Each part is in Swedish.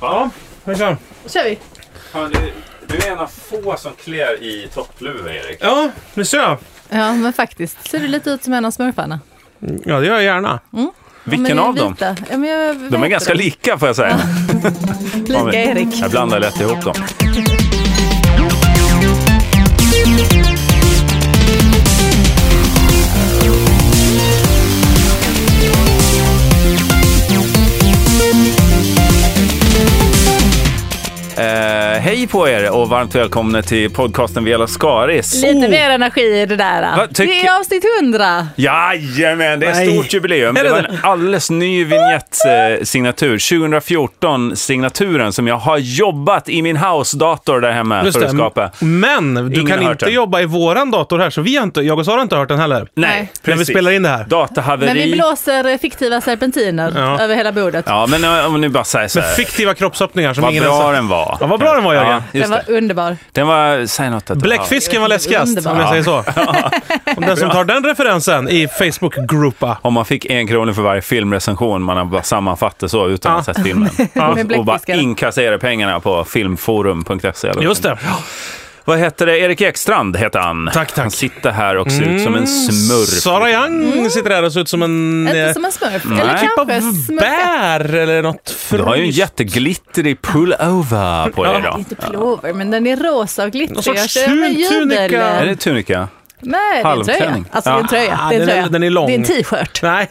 Ja, Hejsan. Då kör vi. fan, du, du är en av få som klär i toppluvor, Erik. Ja, det ser jag. Ja, men faktiskt ser du lite ut som en av smurfarna. Ja, det gör jag gärna. Vilken av dem? Mm. Ja, men jag vet De är inte. ganska lika, får jag säga. lika Erik. Jag blandar lätt ihop dem. Eh, hej på er och varmt välkomna till podcasten Vela Skaris. Lite mer energi i det där. Vad Oh. tycker- Det är avsnitt 100. Jajamän, det är ett Nej. stort jubileum. Det var en alldeles ny vignettsignatur. 2014-signaturen som jag har jobbat i min house-dator där hemma Just för att det. skapa. Men du Ingen har kan hört inte den. jobba i våran dator här, så vi har inte, jag och Sara har inte hört den heller. Nej. När vi spelar in det här. Men vi Datahaveri. blåser eh, fiktiva serpentiner Ja. över hela bordet. Ja, men eh, om ni bara säger så Med här. fiktiva kroppsöppningar som Vad ingen bra ens... den var. Ja, vad bra den var, Jörgen. Ja, just Den var det. underbar. Den var, säg något att det Bläckfisken var läskigast, om jag Underbar. säger så. Om den som tar den referensen i Facebook-gruppa. var- Om man fick en krona för varje filmrecension man har bara sammanfattat så utan Ja. att ha sett filmen. Och, och bara bläckfisken. inkassera pengarna på filmforum.se. E, eller Just det. Vad heter det? Erik Ekstrand heter han. Tack, tack. Han sitter här och ser ut som en smurf. Sara Young sitter här och ser ut som en... Inte eh, Mm. som en smurf. Mm. Nej. Eller typ av kanske smurf. bär eller något Du har ju en fryst. jätteglittrig pullover på dig idag. Inte plover, men den är rosa och Någon glittrig. sorts Jag kör med tunika. ah, jubel. Är det tunika? Nej, det är en tröja. Halvklänning. Alltså, det är en Ja. tröja. Det den är en är- tröja. den är lång. Det är en t-shirt. Nej.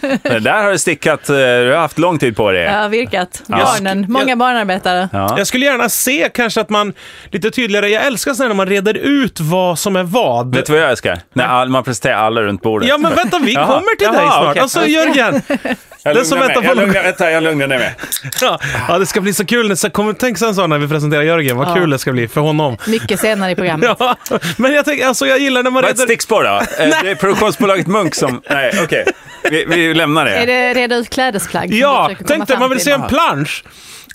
Nej, det där har du stickat. eh, Du har haft lång tid på dig. Ja, virkat. Barnen. Många barnarbetare. Ja. Jag skulle gärna se kanske att man lite tydligare, jag älskar sådär när man reder ut vad som är vad. Vet du vad jag älskar? När all, man presenterar alla runt bordet. Ja men vänta, vi Jaha. kommer till Jaha, dig snart. okej. Alltså Jörgen, jag den som lugnar väntar mig. på- jag lugnar, vänta, jag lugnar ner mig. ja, ja, det ska bli så kul. Så kommer, tänk sen så när vi presenterar Jörgen, vad Ja. kul det ska bli för honom. Mycket senare i programmet. Ja, men jag tänker, alltså jag gillar när man Vad är ett reder... stickspår då? Eh, Det är produktionsbolaget Munk som... Nej, okej. Vi, vi lämnar det. Är det reda ut klädesplagg? som du Ja, försöker komma tänk dig, fram man vill till? se en plansch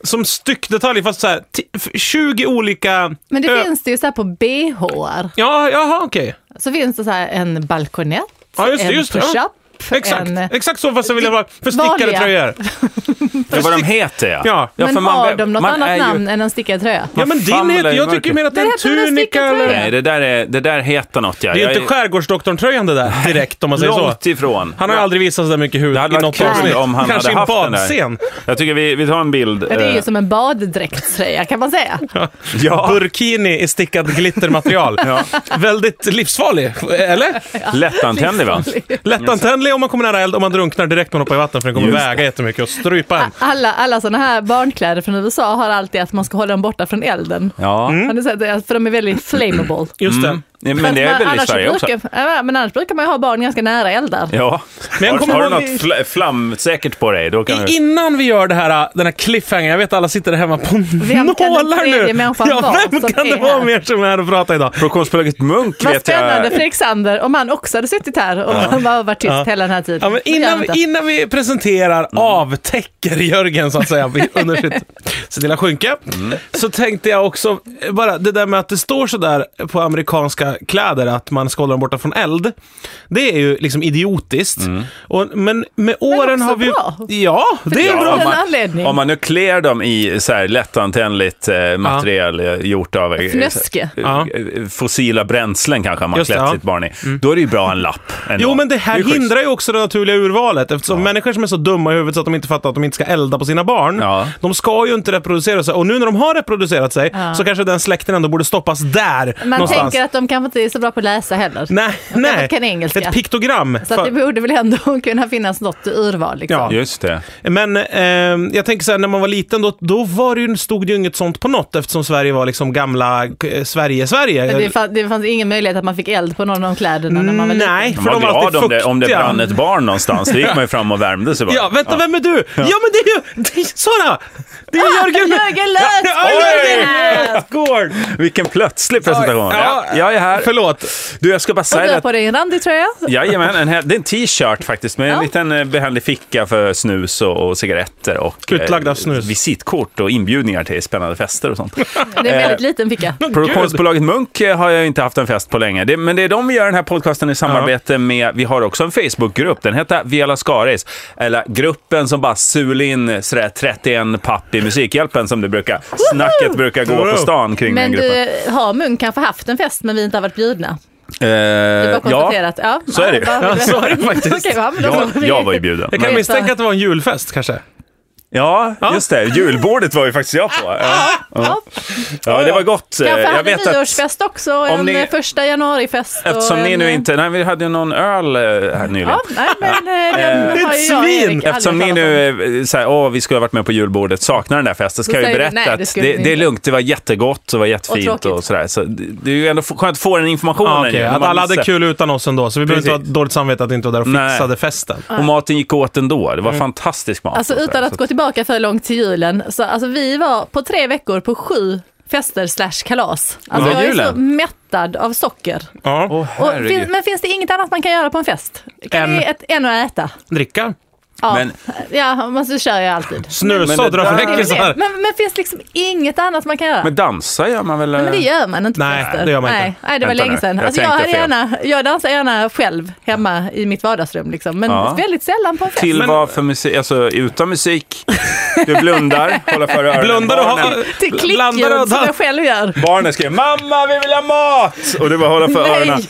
som styckdetalj fast så här, t- f- 20 olika... Men det ö- finns det ju så här på bh Ja, jaha okej. Så finns det så här en balkonett, Ja, just det, Alltså en just det. push-up, Exakt, en... exakt så fast jag vill vara för stickade Vanliga. tröjor. det vad de heter ja. Ja. Men för man- har de något man är annat ju- namn än en stickad tröja? Ja men din fan heter, vill jag jag i tycker mörker? mer att det är Det heter en väl en tunika stickad tröja? eller... Nej, det där, är, det där heter något ja. Det är ju Jag inte Skärgårdsdoktorn-tröjan det där direkt om man säger så. Långt ifrån. Han har aldrig visat så där mycket hud Det i hade varit något kul avsnitt. om han Kanske i hade en haft den där. badscen. Jag tycker vi, vi tar en bild. Ja, det är ju eh, som en baddräktströja kan man säga. ja, Burkini i stickat glittermaterial. Väldigt livsfarlig, eller? lättantändlig va? Lättantändlig om man kommer nära eld, om man drunknar direkt när man hoppar i vatten för den kommer Just väga jättemycket och strypa en. Alla, alla sådana här barnkläder från USA har alltid att man ska hålla dem borta från elden. Ja, Mm. Har ni sett det? För de är väldigt flammable. Just det. Nej, men det Fast man- är väl i annars Sverige också? brukar, Ja, Men annars brukar man ju ha barn ganska nära eldar. Ja. Men jag har, kommer har du ihåg- något fl- flamsäkert på dig? Då kan I- du... Innan vi gör det här, äh, den här cliffhangern, jag vet alla sitter hemma på den nålar tredje nu. människan vara vem som kan det är vara här? mer som är här och pratar idag? Produktionsbolaget Munk Vad vet spännande för jag... Alexander om han också hade suttit här och bara varit tyst Ja. hela den här tiden. Ja, men Det gör han innan, inte. innan vi presenterar avtäcker Jörgen så att säga under sitt, sitt lilla skynke. Så tänkte jag också, eh, bara det där med att det står sådär på amerikanska kläder att man ska hålla dem borta från eld. Det är ju liksom idiotiskt. Och, men med åren också har vi... bra. Ja, det är Ja, bra. av om, en man, anledning. om man nu klär dem i så här lättantändligt eh, material eh, gjort av eh, Fnöske. eh, Ja. eh, fossila bränslen kanske man Just det, klätt ja. Mm. sitt barn i. Då är det ju bra en lapp. ändå. Jo, men det här är ju schysst. hindrar ju också det naturliga urvalet. Eftersom människor som är så dumma i huvudet så att de inte fattar att de inte ska elda på sina barn, Ja. de ska ju inte reproducera sig. Och nu när de har reproducerat sig så kanske den släkten ändå borde stoppas där Man någonstans. tänker att de kanske inte är så bra på att läsa heller. Nej, nej. kan engelska. Ett piktogram. Så att det borde väl ändå kunna finnas något urval. Liksom. Ja. Just det. Men eh, jag tänker så här, när man var liten då, då var det ju, stod det ju inget sånt på något eftersom Sverige var liksom gamla eh, Sverige, Sverige. Men Det, fanns, det fanns ingen möjlighet att man fick eld på någon av kläderna när man var liten. Nej, Man för var de var alltid glad om det, fuktiga. om det brann ett barn någonstans. Det gick man ju fram och värmde sig bara. Ja, vänta, vem är du? Ja, men det är ju... Det är, Sara! Det är Jörgen... Jörgen Löfs- Ja, ja, Oj! Jörgen Löfsgård! Vilken plötslig presentation. Ja. Ja, jag är här. Förlåt. Du, jag ska bara Och du säga har att... på dig en randig tröja. Jajamän, en, hel- det är en t-shirt faktiskt med en Ja. liten eh, behändig ficka för snus och, och cigaretter och eh, Utlagda snus. visitkort och inbjudningar till spännande fester och sånt. Det är en väldigt liten ficka. Produktionsbolaget Munk eh, har jag inte haft en fest på länge. Det, men det är de vi gör den här podcasten i samarbete med. Vi har också en Facebookgrupp. Den heter Viola Skaris. Eller gruppen som bara sul in sådär 31 papp i Musikhjälpen som det brukar. Snacket brukar gå på stan kring Men den gruppen. du, har Munk kanske haft en fest men vi inte har varit bjudna? Det är Eh, bara konstaterat. Ja, så är det ju. Ja, bara- Ja, så är det faktiskt. Okej, ja, men då jag, får vi- jag var ju bjuden. Jag Men- kan misstänka att det var en julfest kanske. Ja, just det. Julbordet var ju faktiskt jag på. Ja, Ja, ja det var gott. Kanske eh, Jag hade vet att nyårsfest också, och om en ni- eh, första januarifest. och eftersom ni en, nu eh, inte... Nej, vi hade ju någon öl eh, här nyligen. Ja, nej, men eh, Ett den har ju jag och svin! Erik aldrig Eftersom ni hört talas om. nu eh, säger åh vi skulle ha varit med på julbordet, saknar den där festen, så Då kan jag ju säger berätta du, nej, det att skulle det, vi det är inte. långt, det var jättegott och det var Och jättefint tråkigt. och, sådär. Så det det är ju ändå f- skönt att få den informationen. Ja, Ah, okej. ju, när Att man alla hade missar. kul utan oss ändå, så vi behöver inte ha Precis. dåligt samvete att vi inte var där och Nej. fixade festen. Och maten gick åt ändå, det Mm. var fantastisk mat. Ah. Alltså och sådär. utan Så att gå tillbaka för långt till julen, så alltså, vi var på tre veckor på sju fester slash kalas. Alltså, Under jag är så julen? mättad av socker. Ja. Åh, Och, herregud. fin, men finns det inget annat man kan göra på en fest? Kan Än- det- ett, än att äta? Dricka. Ja, Men- ja men så kör jag alltid. Men det Snusådra där- fräckisar. Men, men finns det liksom inget annat man kan göra? Men dansa gör man väl? eh, Nej, men det gör man inte på Nej, fester. det gör man inte. Nej, nej det var Vänta länge nu, sedan. jag Jag, alltså, jag, tänkte hade fel. gärna, jag dansar gärna själv hemma i mitt vardagsrum, liksom. men Ja. väldigt sällan på en fest. Till Men- vad för musik? Alltså utan musik, du blundar, håller för öronen. Blundar och Barnen- har... Till blandar och klickljud som dans. jag själv gör. Barnen skrev mamma vi vill ha mat! Och du bara håller för Nej. öronen.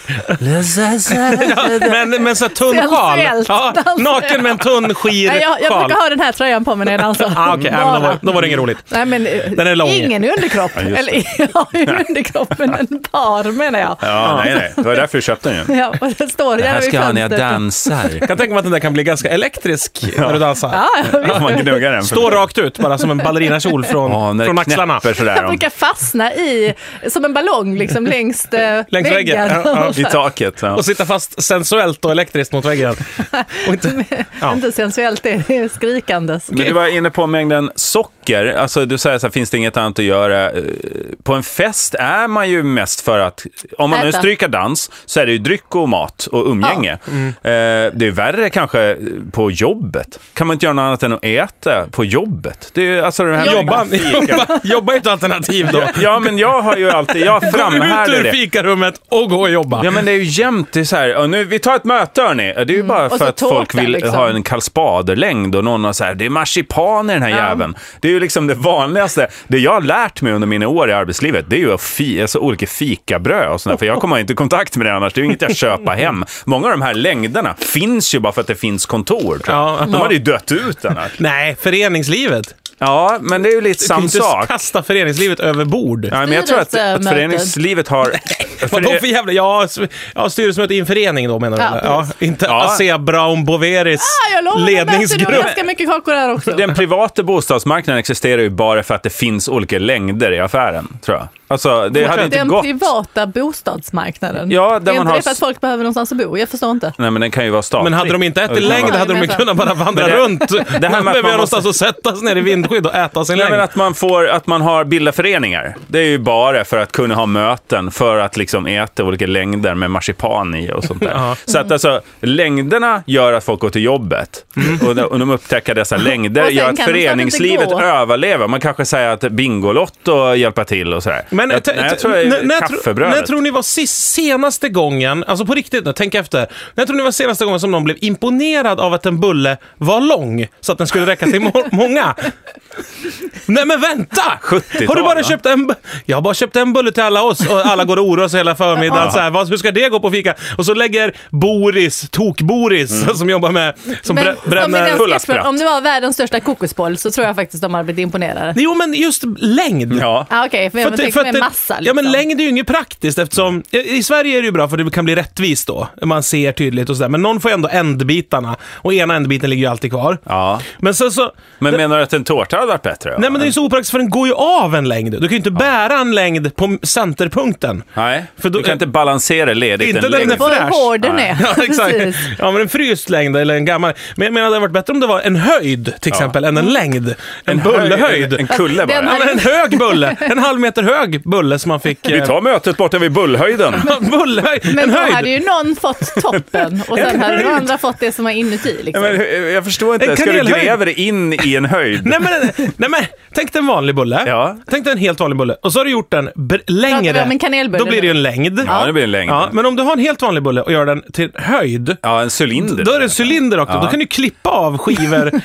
Men men så här tunn Sensuellt sjal. Ja, dansar jag. naken med en tunn skir Nej, jag, jag sjal. brukar ha den här tröjan på mig när jag dansar. Ah, okay. ja, men då, var, Bara. då var det inget roligt. Nej, men, eh, Den är lång. Ingen underkropp. Eller jag har ju en underkropp, men en par menar jag. Ja, nej, nej. Det var därför du köpte den ju. Ja, och den står Det här gärna vid ska jag ha när jag fönstret. dansar. Jag kan tänka mig att den där kan bli ganska elektrisk när du dansar. Ja, jag vet. Man gnuggar den. Stå rakt ut, bara som en ballerinakjol från, Ja, när från det axlarna. knäpper sådär Jag om, brukar fastna i, som en ballong, liksom längs, eh, Längs väggen. Ja, i taket. Ja. Och sitta fast sensuellt och elektriskt mot väggen. Och inte, ja. Inte sensuellt, det är skrikandes. Men du var inne på mängden socker. Alltså, du säger så här, finns det inget annat att göra? Eh, På en fest är man ju mest för att, om man nu Äta. stryker dans, så är det ju dryck och mat och umgänge. Mm. Eh, Det är värre kanske på jobbet. Kan man inte göra något annat än att äta på jobbet? Det är ju alltså det här Jobba, jobba, jobba är ett alternativ då. Ja, men jag har ju alltid, jag Ut framhärdar ur det. fikarummet och gå och jobba. Ja men det är ju jämt, det är så här, "Ja, nu, vi tar ett möte hörni. Det är ju bara Och för så att folk tårta, vill liksom. ha en karlspaderlängd och någon har så här, det är marsipan i den här Ja. jäveln. Det är ju liksom det vanligaste. Det jag har lärt mig under mina år i arbetslivet, det är ju att fi, alltså, olika fikabröd och sådär, för jag kommer inte i kontakt med det annars. Det är ju inget jag köper hem. Många av de här längderna finns ju bara för att det finns kontor. tror jag. Ja. De hade ju dött ut annars. Nej, föreningslivet. Ja, men det är ju lite Kan samma inte sak. kasta föreningslivet över bord. Ja, men jag tror att, att Styrelsemöten. föreningslivet har... Vadå för jävla... Ja, s- ja, styrelsemöte i en förening då menar du? Ja, eller? ja, precis. inte Ja. ASEA Brown Boveris Ah, jag lovar, ledningsgrupp. Det var ledningsgrupp. ganska mycket kakor där också. Den privata bostadsmarknaden existerar ju bara för att det finns olika längder i affären, tror jag. Alltså, det hade inte Den gått. privata bostadsmarknaden. Ja, där det är man inte har det för att folk behöver någonstans att bo? Jag förstår inte. Nej, men den kan ju vara statlig. Men hade de inte ätit längd Ja, hade de ju gemensamt. kunnat bara vandra Men det- runt. Det med här att man behöver måste- någonstans att sätta sig ner i vindskydd och äta sin Nej, men längd. att man, får, att man har bildar föreningar. Det är ju bara för att kunna ha möten, för att liksom äta olika längder med marsipan i och sånt där. Ja. Så att alltså, längderna gör att folk går till jobbet. Och, de, och de upptäcker dessa längder Och sen gör kan att de snart inte föreningslivet gå. överlever. Man kanske säger att Bingolotto hjälper till och sådär. Men jag, t- nej, t- jag tror det när- när är jag tror- kaffebrödet. När tror ni var sist, senaste gången, alltså på riktigt nu, tänk efter. När tror ni var senaste gången som någon blev imponerad av att en bulle var lång så att den skulle räcka till må- många? Nej men vänta! 70-tal, Har du bara va? köpt en bu- Jag har bara köpt en bulle till alla oss och alla går och oroar sig hela förmiddagen. Så här, vad, hur ska det gå på fika? Och så lägger Boris, tok-Boris, Mm. som jobbar med, som brä- om, det bränner... är den sketchen, Hullaskratt. om det var världens största kokosboll så tror jag faktiskt de hade blivit imponerade. Jo men just längd. Ja. Ja, okej, för, jag tänker med det- massa. Liksom. Ja, men längd är ju inget praktiskt eftersom, i- i Sverige är det ju bra för det kan bli rättvist då. Man ser tydligt och sådär. Men någon får ju ändå ändbitarna och ena ändbiten ligger ju alltid kvar. Ja. Men sen så, Men menar du att en tårta hade varit bättre. Ja. Nej men det är ju så opraktiskt för den går ju av en längd. Du kan ju inte bära en längd på centerpunkten. Nej, För då- du kan inte balansera ledigt Inte en den längd. är Vad fräsch. hård den Nej. är. Ja, exakt. Precis. Ja, men en fryst längd eller en gammal. Men jag menar, det hade varit bättre om det var en höjd till exempel, än Mm. en längd. En, bullehöjd. En, en kulle Den bara. Ja, men en hög bulle. En halv meter hög bulle som man fick... Vi eh, tar mötet borta vid bullhöjden. Bullhöjd! Men En då hade höjd! ju någon fått toppen och sen hade de andra fått det som var inuti. Nej, Liksom. men, hur- jag förstår inte. En Ska du kanelhöjd. gräva dig in i en höjd? Nej men, nej men, tänk dig en vanlig bulle. Ja. Tänk dig en helt vanlig bulle. Och så har du gjort den br- Pratar vi längre. om en kanelbulle Då blir det ju en längd. Ja, det blir en längd. Ja, men om du har en helt vanlig bulle och gör den till höjd. Ja, en cylinder. Då är det en cylinder också. Då kan du klippa av skivor.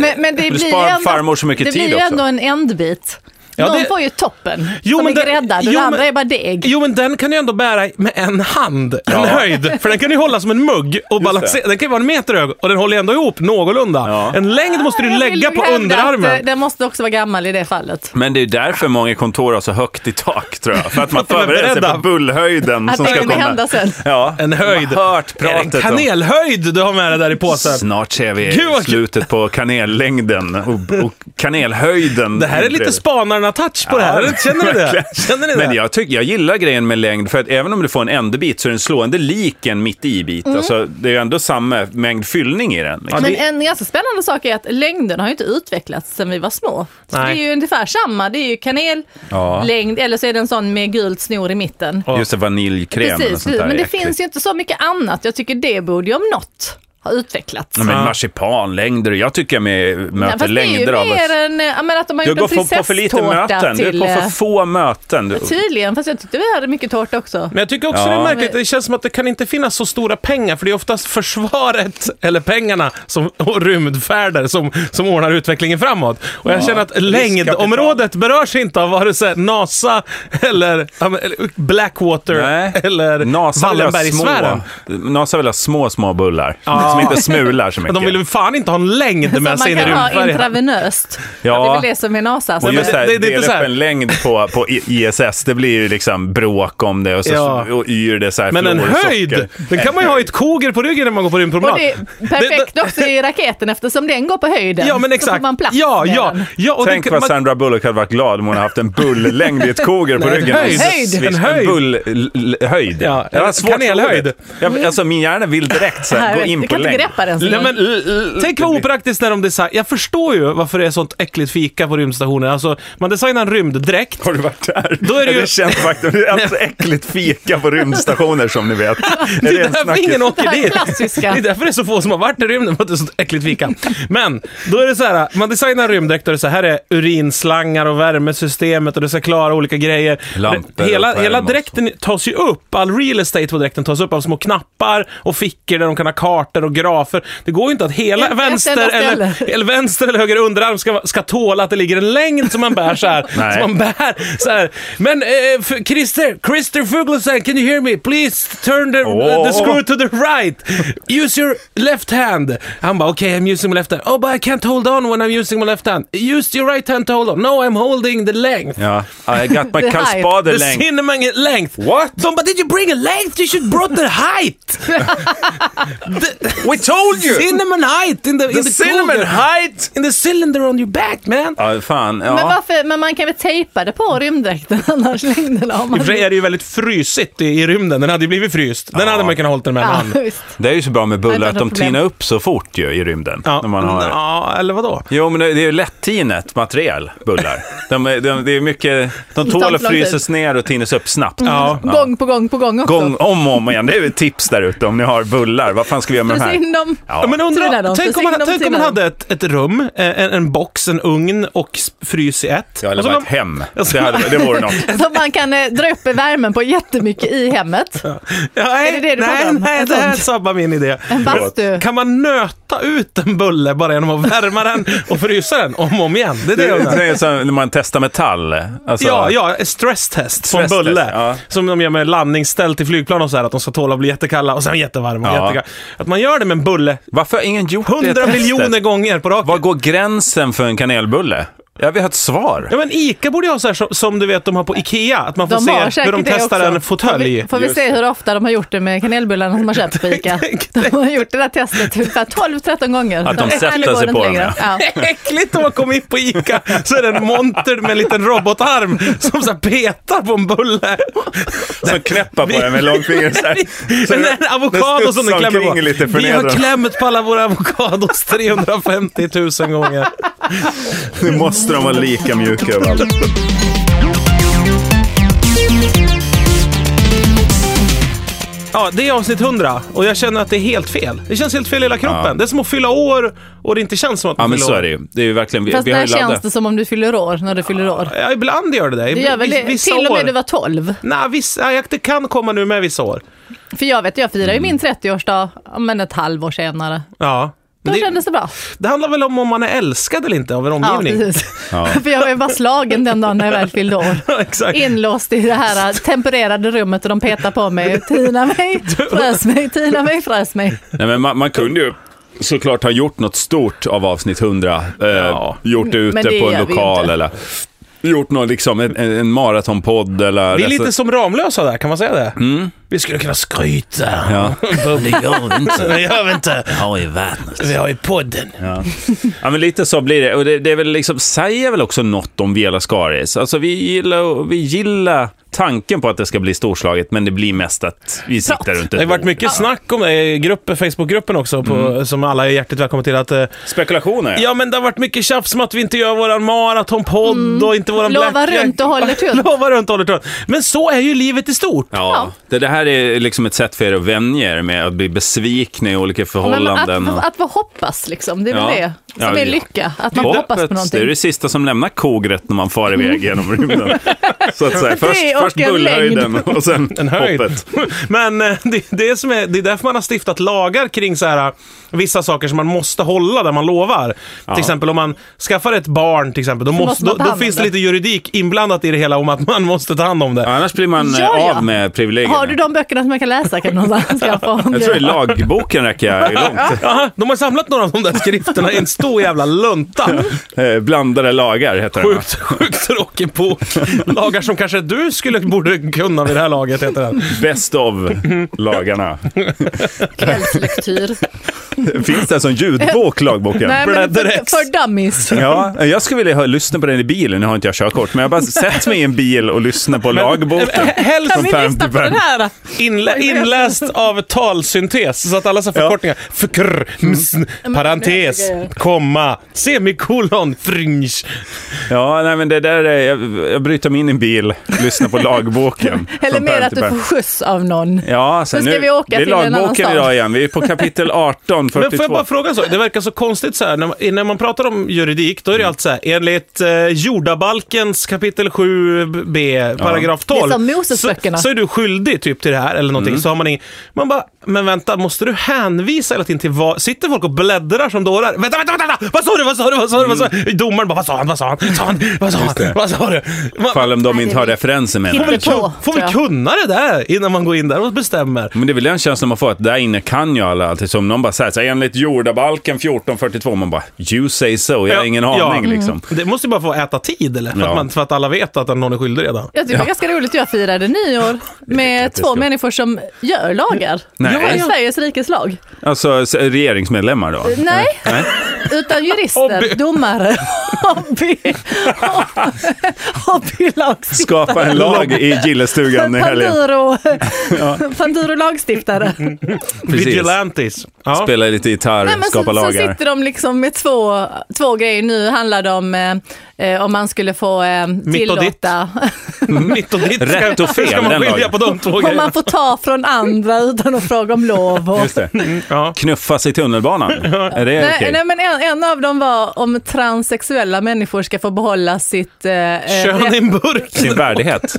Men, men det, blir ju sparar ändå, farmor så mycket det tid blir ju också. ändå en ändbit. Ja, Någon det- får ju toppen Jo, som men är det- gräddad och jo, den men- andra är bara deg. Jo, men den kan du ändå bära med en hand. En höjd. För den kan du hålla som en mugg och balansera. Den kan ju vara en meter hög och den håller ändå ihop någorlunda. Ja. En längd måste du Jag vill lägga nog på hävda att, eh, underarmen. Den måste också vara gammal i det fallet. Men det är därför många kontor har så högt i tak, tror jag. För att man de är förbereder sig beredda. på bullhöjden Att som det ska kommer komma. hända sen. Ja, En höjd. Man har hört Är det en pratet om... kanelhöjd du har med dig där i påsen? Snart ser vi Gud, vad- slutet på kanellängden och, och kanelhöjden. Det här är lite spanarna-touch på det här. Känner ni det? Känner ni det? Men jag, tycker, jag gillar grejen med längd, för att även om du får en ändebit så är den slående lik en mitt i-bit. Alltså, det är ju ändå samma mängd fyllning i den. Liksom. Mm. Men en ganska spännande sak är att längden har ju inte utvecklats sedan vi var små. Så det Nej. är ju ungefär samma, det är ju kanellängd Ja. eller så är det en sån med gult snor i mitten. Just det, vaniljkräm och Precis, sånt där. men det äckligt. finns ju inte så mycket annat. Jag tycker det borde ju om något ha utvecklats. Ja, Men Ja. marsipanlängder, jag tycker jag med, möter fast det är ju längder av mer oss. en, ja, men att de har Du gjort går en för, på för lite prinsesstårta möten, du är till... på för eh, få möten. Du. Tydligen, fast jag tyckte vi hade mycket tårta också. Men jag tycker också Ja. det är märkligt, det känns som att det kan inte finnas så stora pengar, för det är oftast försvaret, eller pengarna, som, och rymdfärder som, som ordnar utvecklingen framåt. Och jag känner att längdområdet berörs inte av vare sig NASA eller, ja, men, eller Blackwater eller NASA vill ha Wallenbergsfären. små- NASA vill ha små, små bullar som inte smular så mycket. De vill ju fan inte ha en längd Som med sig man in i kan ha rymdfärjan. intravenöst. Ja. Det är väl det som är NASA. Och men just det, det- här, det- det är dela inte så här- upp en längd på, på I- ISS, det blir ju liksom bråk om det och, så, Ja. och yr det så här Men en fluor och socker. höjd! Den kan man ju ha i ett koger på ryggen när man går på och rymdpromenad. det är perfekt också i raketen eftersom den går på höjden. Ja, men Så exakt. får man plats ja, med ja, den. ja. Och Tänk den- vad man- Sandra Bullock hade varit glad om hon hade haft en bulllängd i ett koger på Nej, en ryggen. höjd. En, Höjd. swish, En höjd. en bullhöjd. Ja, Jag har en svårt för kanelhöjd. ordet. Jag, alltså, min hjärna vill direkt så här, Mm. Här, gå in du på kan inte längd. greppa den. så Nej, långt. men, tänk vad opraktiskt när de designar... Jag förstår ju varför det är sånt äckligt fika på rymdstationen. Alltså, man designar en rymddräkt. Har du varit där? Då är det ju- Det känns faktiskt, det är alltid så äckligt fika på rymdstationer som ni vet. Det är en därför snackis? ingen åker Det här dit. klassiska. Det är därför det är så få som har varit i rymden, för att det är sånt äckligt fika. Men, då är det så här, man designar en rymddräkt och det är så här, här är urinslangar och värmesystemet och det ska klara olika grejer. Lampor och hela, pärm hela och så. dräkten tas ju upp, all real estate på dräkten tas upp av små knappar och fickor där de kan ha kartor och grafer. Det går ju inte att hela Inte ett vänster enda eller, ställe. eller vänster eller höger underarm ska, ska tåla att det ligger en längd som man bär så här. Nej. som man bär så här. Men eh, f- Christer, Christer Fuglesang, can you hear me? Please turn the Åh. the screw to the right. Use your left hand. Han bara, okej, okay, I'm using my left hand. Oh, but I can't hold on when I'm using my left hand. Use your right hand to hold on. No, I'm holding the length. Ja, I got my The height. Karlsbader The längd. cinnamon length. What? De bara, did you bring a length? You should brought the height. the We told cinnamon height in the, in The the cinnamon colder- height! In the cylinder on your back, man. Ja, fan. Ja. Men, varför, men man kan väl tejpa det på rymddräkten annars längderna? Om I och man... för sig är det ju väldigt frysigt i, i rymden. Den hade ju blivit fryst. Den hade man kunnat hålla den med en ja, hand. visst. Det är ju så bra med Nej, bullar det att är de problem. tinar upp så fort ju i rymden. När man har... ja, eller vadå? Jo, men det är ju lättinet material, bullar. De, är- de, det är mycket, de tar tål inte att lång tid. fryses ner och tinas upp snabbt. Mm. Ja. Gång på gång på gång också. Gång om och om igen. Det är ju ett tips där ute om ni har bullar. Vad fan ska vi göra med de Pressa här? in dem. Ja, Ja. men Trillar undra, tänk, de? Precis, om man, de tänk om man trillar. hade ett, ett rum, eh, en, en box, en ugn och s- frys i ett. Ja, eller och så bara kan- ett hem. Jag ska- Det, hade, det vore något. Som man kan eh, dra upp värmen på jättemycket i hemmet. Ja, nej, det det du pratar nej, om? nej, Ett det här sånt? sabbar min idé. En bastu. Kan man nöta ut en bulle bara genom att värma den och frysa den om och om igen? Det är det Det jag undrar. är som när man testar metall. Alltså, Ja, ja, stresstest på en Stresstest, bulle. ja. Som de gör med landningsställ till flygplan och så här, att de ska tåla att bli jättekalla och sen jättevarma. och Ja. Jättekalla. Att man gör det med en bulle Varför har ingen gjort det 100 testet? miljoner gånger på raken. Var går gränsen för en kanelbulle? Jag vill ha ett svar. Ja men Ica borde ju ha så här som, som du vet de har på Ikea, att man får De har se säkert hur de det testar också. en fåtölj. Får vi Just se det. hur ofta de har gjort det med kanelbullarna som har köpt på Ica. De har gjort det där testet typ ungefär 12-13 gånger. Att de Så, sätter nu går sig det på inte dem, längre. Ja. Äckligt om man kommer in på Ica så är det en monter med en liten robotarm som så här petar på en bulle. Som knäppa på den med långfingret så här. Så Men det- en det avokado som den studsar klämmer på. omkring lite Vi har förnedrande. klämt på alla våra avokados 350 000 gånger. Nu måste de vara lika mjuka överallt. Ja, det är avsnitt 100 och jag känner att det är helt fel. Det känns helt fel i hela kroppen. Ja. Det är som att fylla år och det inte känns som att man Ja men fyller så år. är det ju. Det är ju verkligen, vi, Fast vi har där ju känns laddat. det som om du fyller år när du fyller år. Ja, ibland gör det det. Du gör väl det Vissa till och år. med du var 12? Nej, vissa, ja, det kan komma nu med vissa år. För jag vet, jag firar ju Mm. min 30-årsdag, ja, men ett halvår senare. Ja. Då Men det, kändes det bra. det handlar väl om om man är älskad eller inte av en Ja, omgivning. precis. Ja. För jag var ju bara slagen den dagen när jag väl fyllde år. Ja, Exakt. Inlåst i det här äh, tempererade rummet och de petar på mig. Tina mig, frös mig, tina mig, frös mig. Nej, men man, man kunde ju såklart ha gjort något stort av avsnitt 100. Eh, Ja. Gjort det ute Men det på en gör vi lokal inte. eller gjort något, liksom, en, en en maratonpodd eller... alltså, Vi är lite resta- som Ramlösa där, kan man säga det? Vi skulle kunna skryta. Ja. Det gör vi inte. Det gör vi inte. Har ju vattnet. Vi har ju podden. Ja, men lite så blir det. Och det, det är väl liksom, säger väl också något om Vela Skaris. Alltså, vi, gillar, vi gillar tanken på att det ska bli storslaget, men det blir mest att vi sitter runt ett Det har varit bord. mycket snack om det i gruppen, Facebookgruppen också, på, som alla är hjärtligt välkomna till. Att, eh, Spekulationer. ja, men det har varit mycket tjafs om att vi inte gör våran maratonpodd och inte våran Mm. Lova blackjack. runt och håller tunt. Lova runt och håller tunt. Men så är ju livet i stort. Ja, det, det här är liksom ett sätt för er att vänja er med att bli besvikna i olika Men att, förhållanden. och- att, vad hoppas liksom, det är väl Ja. det Ja, som är ja. lycka. Att man Hoppet, hoppas på det är någonting. det sista som lämnar kogret när man far iväg genom rymden. Så att säga, först, Det och först en bullhöjden och sen En höjd. hoppet. Men eh, det, det, som är, det är därför man har stiftat lagar kring så här, eh, vissa saker som man måste hålla där man lovar. Till exempel om man skaffar ett barn, till exempel, då, måste, måste man då, ta då hand om finns det det. lite juridik inblandat i det hela om att man måste ta hand om det. Annars blir man eh, Ja, ja. av med privilegierna. Har du de böckerna som jag kan läsa kan någon skaffa? om Jag det? tror det är lagboken räcker långt. Aha, de har samlat några av de där skrifterna i en stor jävla lunta. Eh, Blandade lagar heter den. va? Sjukt, sjukt tråkig bok. Lagar som kanske du skulle borde kunna vid det här laget, heter den. Best of lagarna. Kvällslektyr. Finns det en sån ljudbok, lagboken? Nej, men för, Bläddrex. för dummies. Ja, jag skulle vilja hö- lyssna på den i bilen. Nu har inte jag körkort, men jag bara sätter mig i en bil och lyssnar på lagboken. Helst Kan vi Pam lyssna till på Pam. den här? Inlä- inläst av talsyntes, så att alla så förkortningar. Förkrr, msn, parentes, komma, semikolon, fringe. Ja, nej, men det där är, jag, jag bryter mig in i en bil, lyssnar på lagboken. Eller från mer pärm att till du pärm. får skjuts av någon. Ja, så Nu ska nu, vi åka det är till en annan lagboken stad. idag igen. Vi är på kapitel 18, Men får 42. jag bara fråga en sak? Det verkar så konstigt så här, när, man, när man pratar om juridik, då Mm. är det alltid så här, enligt eh, jordabalkens kapitel 7b, paragraf är 12. som så, Mosesböckerna. Mm. så är du skyldig typ till det här eller någonting. Så har man ingen, man bara, men vänta, måste du hänvisa hela tiden till vad, sitter folk och bläddrar som dårar? Vänta, vänta, vänta, vänta! Vad sa du, vad sa du, vad sa du, vad sa Mm. du? Domaren bara, vad sa han, vad sa han, sa han vad sa han, vad sa du? Man, Fall om de inte har referenser med Hittar det. på, Kun- Får tror jag. vi kunna det där innan man går in där och bestämmer? Men det är väl den känslan man får, att där inne kan jag alla alltid. Som någon bara säger så här, enligt jordabalken 1442, man bara you say so, jag har Ja, ingen ja. aning Mm. liksom. Det måste ju bara få äta tid eller? För, Ja. att man, för att alla vet att någon är skyldig redan. Jag tycker det är ganska roligt. Jag firade nyår med det två ska- människor som gör lagar. Nej. Ja, ja. Sveriges rikes lag. Alltså s- regeringsmedlemmar då? Nej, Nej. utan jurister, Hobby. domare, hobby, hobbylagstiftare. Skapa en lag i gillestugan i helgen. Mm. Panduro, Panduro lagstiftare. Precis. Vigilantis. Ja. Spela lite gitarr, Nej, men skapa så, så lagar. sitter de liksom med två, två grejer. Nu handlar det om eh, eh, om man skulle få eh, Mitt och ditt. tillåta, Mitt och ditt. ska- Rätt och fel, Ska man den skilja lagen. på de två om grejerna? man får ta från andra utan att fråga om lov. Och, Just det. Ja. Knuffas i tunnelbanan. Är det Nej, okej? nej, men en, en av dem var om transsexuella människor ska få behålla sitt, eh, Kön i rep, en burk. Sin värdighet.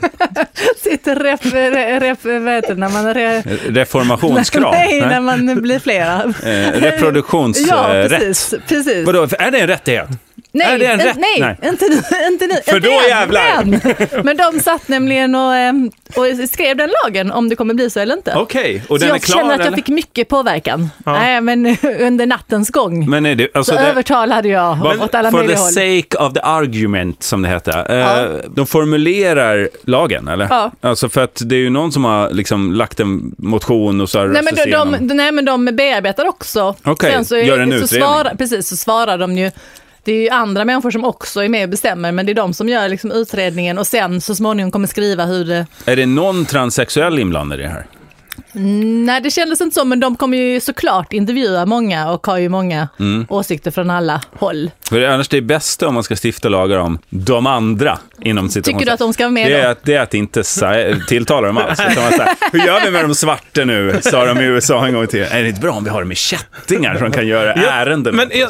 sitt rep, re- rep, vad heter det, när man re, Reformationskrav. Nej, när Nej. man blir flera. Eh, reproduktionsrätt. ja, precis. precis. Vadå, är det en rättighet? Är Nej, det en inte- rätt? nej, Nej. inte nu. Inte nu För inte då än, jävlar. än. Men de satt nämligen och, eh, och skrev den lagen om det kommer bli så eller inte. Okej, och så den jag är klar känner att jag eller? fick mycket påverkan. Nej, men under nattens gång Men är det, alltså så det, övertalade jag vad- åt alla For the möjliga håll. sake of the argument, som det heter. Eh, Ja. De formulerar lagen, eller? Ja. Alltså för att det är ju någon som har liksom lagt en motion och så har Nej men, röstats igenom. de, de, nej men de bearbetar också. Okej, Sen så, gör en så utredning. svarar, Precis, så svarar de ju. Det är ju andra människor som också är med och bestämmer, men det är de som gör liksom utredningen och sen så småningom kommer skriva hur det... Är det någon transsexuell inblandad i det här? Nej, det kändes inte så, men de kommer ju såklart intervjua många och har ju många Mm. åsikter från alla håll. För det är annars det bästa om man ska stifta lagar om de andra inom situationen. Tycker du att de ska vara med det är då? att, det är att inte sa- tilltala dem alls. Utan man säger, Hur gör vi med de svarta nu? Sa de i USA en gång till. Är det inte bra om vi har dem i kättingar som kan göra Ja, ärenden? Alltså. Men, åt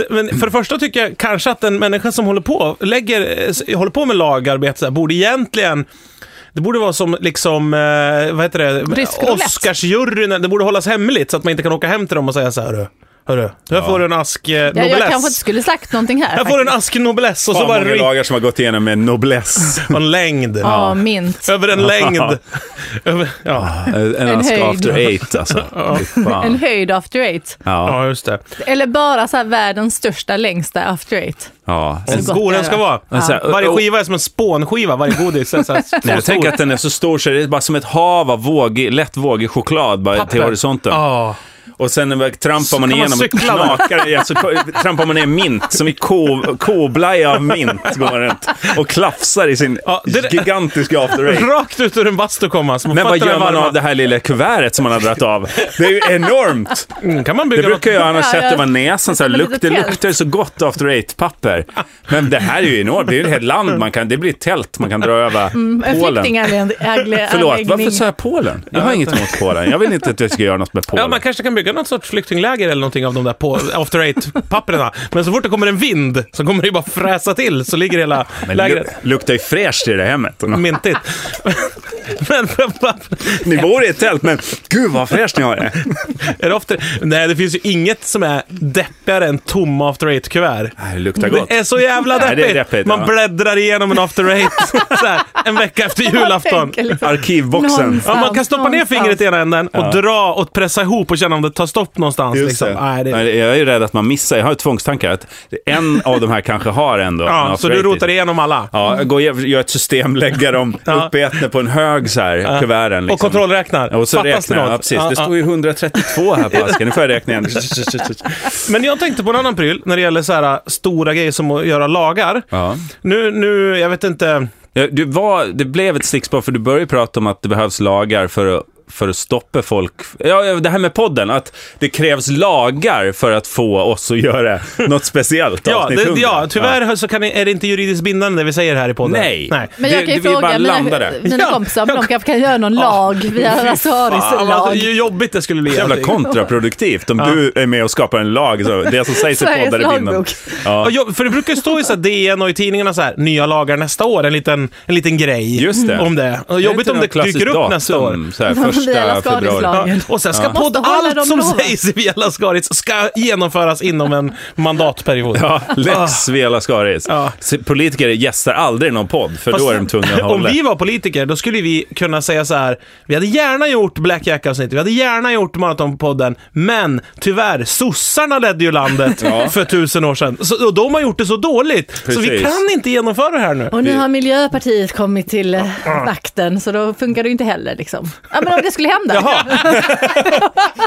oss? men för det första tycker jag kanske att en människa som håller på, lägger, eh, håller på med lagarbete så här, borde egentligen det borde vara som liksom, eh, vad heter det, Rysk roulette. Oscarsjuryn, det borde hållas hemligt så att man inte kan åka hem till dem och säga så här, hörru, hörru, här får du en ask eh, Jag, Nobeless. jag kanske inte skulle sagt någonting här. här får du en ask Nobeless och Fan, så bara många ryck lagar som har gått igenom med nobless. på en längd. Ja, mint. Över en längd. Över, ja. En, en ask höjd. after eight alltså. Fy En Fan. höjd after eight. Ja, ja, just det. Eller bara så här världens största, längsta after eight. ja. Så gott God är den det. ska vara. Men så här, Varje och- skiva är som en spånskiva, varje godis. är Så här, så Nej, jag stor. tänker att den är så stor så det är bara som ett hav av vågig, lätt vågig choklad bara till Papper. horisonten. Ja. Och sen när man trampar kan man man igenom och cykla där. knakar igen, så trampar man ner mint, som i ko- koblaja av mint går man runt och klafsar i sin Ja, det- gigantiska after eight. Rakt ut ur en bastu kom han. så man Men vad fattar gör det man varma. av det här lilla kuvertet som man har dragit av? Det är ju enormt! Mm, kan man Det bygga något? brukar jag annars Ja, ja. sätta över näsan. Så här, Det är som ett luk, det litet tält. luktar ju så gott after eight-papper. Men det här är ju enormt. Det är ju ett helt land man kan... Det blir ett tält man kan dra över Mm, En Polen. flyktinganläggning. Förlåt, varför sa jag Polen? Jag har inget emot Polen. Jag vill inte att vi ska göra något med Ja, Polen. man kanske kan bygga något sorts flyktingläger eller någonting av de där på after eight-papperna. Men så fort det kommer en vind så kommer det ju bara fräsa till så ligger hela Men lu- lägret luktar ju fräscht i det här hemmet. mintigt. men, Ni bor i ett tält, men gud vad fräscht ni har det. är det after... Nej, det finns ju inget som är deppigare än tomma after eight-kuvert. Det här luktar gott. Det är så jävla Nej, deppigt. det är deppigt, man ja. bläddrar igenom en after eight så här, en vecka efter julafton. liksom- Arkivboxen. Ja, man kan stoppa ner liksom Någonstans. fingret i ena änden och dra och pressa ihop och känna om det tar stopp någonstans. Just Liksom. det. Nej, det... Nej, Jag är ju rädd att man missar. Jag har ju tvångstankar. Att en av de här kanske har ändå Ja, så du rotar det. igenom alla. Ja, gå och gör gör ett system, lägger dem Ja. uppätna på en hög så här, kuverten. Liksom. Och kontrollräknar. Och så Fattas det räknar jag. något? Ja, precis. Ja, det ja. står ju 132 här på asken. Nu får jag räkna igen. Men jag tänkte på en annan pryl när det gäller så här äh, stora grejer som att göra lagar. Ja. Nu, nu, jag vet inte. Ja, Du var, det blev ett stickspår, för du började prata om att det behövs lagar för att, för att stoppa folk. Ja, ja, det här med podden, att det krävs lagar för att få oss att göra något speciellt. Ja, avsnitt det, 100. ja tyvärr Så kan, ni- är det inte juridiskt bindande det vi säger här i podden. Nej. Nej. Men jag Det- kan ju det- vi bara fråga landar mina, där. mina Ja, kompisar om jag- de kanske kan göra någon lag via Rasaris Fan, vad lag. jobbigt det skulle bli. Alltså, Jävla allting. kontraproduktivt om du är med och skapar en lag. Så det som sägs i Sveriges poddar är bindande. lagbok. Ja. Ja, jo, för det brukar ju stå i så här DN och i tidningarna så här, nya lagar nästa år, en liten, en liten grej Just det. typ om det. Och jobbigt om det dyker upp nästa år. Så här, Ja, men det är första alla februari. skadestånd. Ja, Lagen. och sen ska podd Måste hålla allt dem som loven. sägs i Vela Skaris ska genomföras inom en mandatperiod. Ja, lex Vela Skaris. Ah. Ja. Så Politiker gästar aldrig någon podd, för Fast då är de tvungna att Om hålla. vi var politiker, då skulle vi kunna säga så här. Vi hade gärna gjort Black Jack-avsnittet, vi hade gärna gjort Maratonpodden, men tyvärr, sossarna ledde ju landet Ja. för tusen år sedan. Så, och de har gjort det så dåligt, så vi Precis. kan inte genomföra det här nu. Och nu har Miljöpartiet kommit till eh, makten, så då funkar det ju inte heller. Liksom. Ja, men om det skulle hända. Jaha,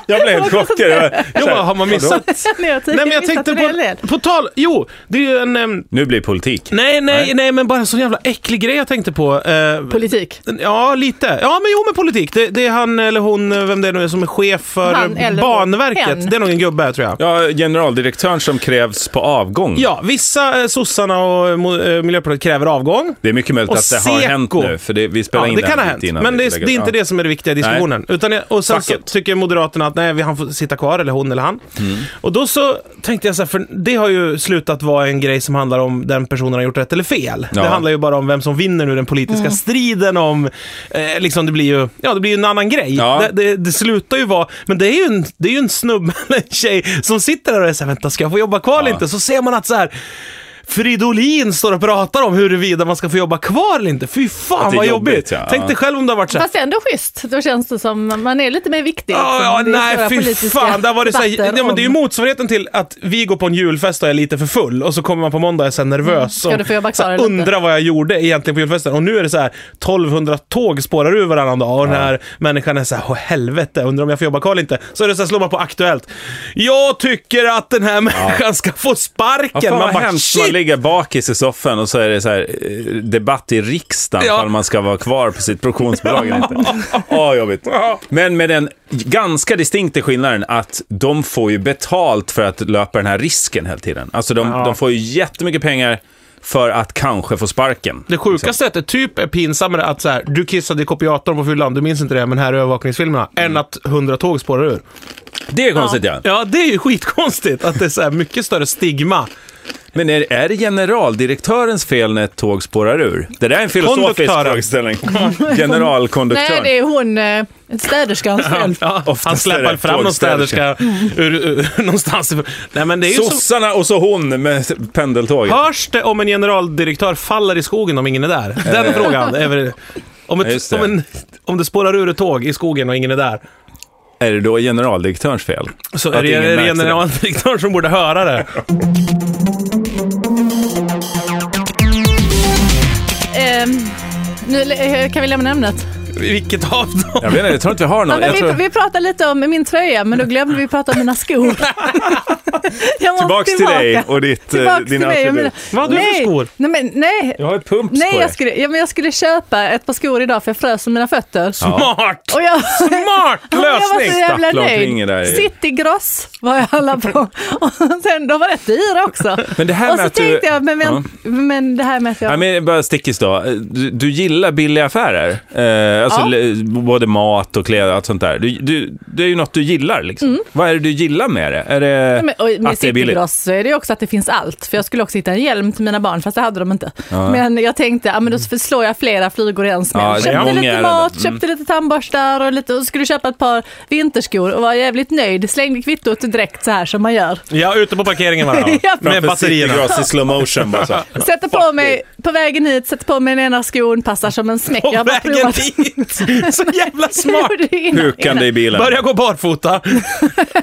Jag blev helt chockad. Jag bara, jo, så här, har man missat? Ni har Nej, tidigare men jag missat tänkte en hel del. på, på tal... Jo, det är ju en... ehm, Nu blir det politik. nej, nej, nej, men bara en sån jävla äcklig grej jag tänkte på. Eh, Politik. Ja, lite. Ja, men jo, med politik. Det, det är han eller hon, eh, vem det nu är, som är chef för Han eller hon. Banverket. Hen. Det är nog en gubbe, tror jag. Ja, generaldirektören som krävs på avgång. Ja, vissa eh, sossarna och eh, mo- eh, Miljöpartiet kräver avgång. Det är mycket möjligt Och att det har hänt Seko. nu, för det, vi spelar Ja, in det här kan ha lite hänt, innan men vi det är, lägger det är upp. inte det som är det viktiga i diskussionen. Utan jag, och sen så Facket. tycker Moderaterna att nej, vi- han får sitta kvar, eller hon eller han. Mm. Och då så tänkte jag så här, för det har ju slutat vara en grej som handlar om den personen har gjort rätt eller fel. Ja. Mm. Det handlar ju bara om vem som vinner nu den politiska striden om, eh, liksom det blir ju, ja det blir ju en annan grej. Ja. Det, det, det slutar ju vara, men det är ju en, det är ju en snubbe eller en tjej som sitter där och är så här, vänta ska jag få jobba kvar eller Ja. inte? Så ser man att så här, Fridolin står och pratar om huruvida man ska få jobba kvar eller inte. Fy Att fan det är vad jobbigt. jobbigt, ja. Tänk dig själv om det har varit så här. Fast ändå schysst, då känns det som man är lite mer viktig. Ja, liksom. ja, Det är stora nej fy politiska fan. Där var det, så här, debatter ja, men det är ju om- motsvarigheten till att vi går på en julfest och är lite för full och så kommer man på måndag och är så här nervös Mm. Ska du få jobba och så här, kvar eller inte? undrar vad jag gjorde egentligen på julfesten. Och nu är det så här 1200 tåg spårar ur varannan dag och den här människan är så här, åh helvete, undrar om jag får jobba kvar eller inte. Så är det så här, slår man på Aktuellt. Jag tycker att den här människan ska få sparken. Ja, man fan, vad bara, hemskt. Man shit! ligger bakis i soffan och så är det så här, eh, debatt i riksdagen Ja. om man ska vara kvar på sitt produktionsbolag eller inte. Ja, jobbigt. Ja. Men med den ganska distinkta skillnaden att de får ju betalt för att löpa den här risken hela tiden. Alltså de, Ja. de får ju jättemycket pengar för att kanske få sparken. Det sjukaste är att det typ är pinsammare att så här, du kissade i kopiatorn på fyllan, du minns inte det, men här är övervakningsfilmerna, Mm. än att 100 tåg spårar ur. Det är konstigt ja. Ja, det är ju skitkonstigt att det är så här mycket större stigma. Men är, är det generaldirektörens fel när ett tåg spårar ur? Det där är en filosofisk Konduktören. frågeställning. Nej, Generalkonduktören. det är hon, eh, städerskans fel. Ja, Oftast han är släpar det fram någon städerska tågstäderska. ur, ur, någonstans. ifrån. Nej, men det är ju så. Sossarna och så hon med pendeltåget. Hörs det om en generaldirektör faller i skogen om ingen är där? Den Eh. frågan. Är väl, om, Ja, ett, just det. om, en, om det spårar ur ett tåg i skogen och ingen är där, Är det då generaldirektörens fel? så Att är det, ingen är det märks det. generaldirektören som borde höra det. Ehm, nu eh, kan vi lämna ämnet. Vilket av dem? Jag vet inte, jag tror inte vi har Ja, någon. men Jag vi, tror... vi pratade lite om min tröja, men då glömde vi prata om mina skor. Jag måste Tillbaks till dig och ditt, eh, Tillbaks till din mig och mina... attribut. Vad har du för Nej, skor? Nej, men, nej. Jag har ju pumps Nej, på jag dig. skulle, ja, men jag skulle köpa ett par skor idag för jag frös om mina fötter. Smart! Och jag, Smart jag var så lösning! jävla Stappla omkring i där. nöjd. Citygross var jag alla på. Och sen, de var rätt dyra också. Men det här och med så att du- tänkte jag, men, men, men det här med att jag... Ja, men bara stickis då. Eh, Du, du gillar billiga affärer. Eh, alltså Ja. le- både mat och kläder och allt sånt där. Du, du, det är ju något du gillar. Liksom. Vad är det du gillar med det? Är det Mm. Men, och med att det är billigt? Citygross så är det ju också att det finns allt. För jag skulle också hitta en hjälm till mina barn, fast det hade de inte. Men jag tänkte, ja, men då förslår jag flera flugor i en smäll. Ja, det är köpte många lite ärenden. mat, Mm. köpte lite tandborstar och, lite, och skulle köpa ett par vinterskor och var jävligt nöjd. Slängde kvittot direkt så här som man gör. Ja, ute på parkeringen var Ja, det. Med Framför batterierna. Citygross i slow motion bara så. Sätter på mig, på vägen hit, sätter på mig den ena skon, passar som en smäck. På har bara vägen provat- dit! Så jävla Jag smart! gjorde det innan- Hukande i bilen. Börja gå barfota.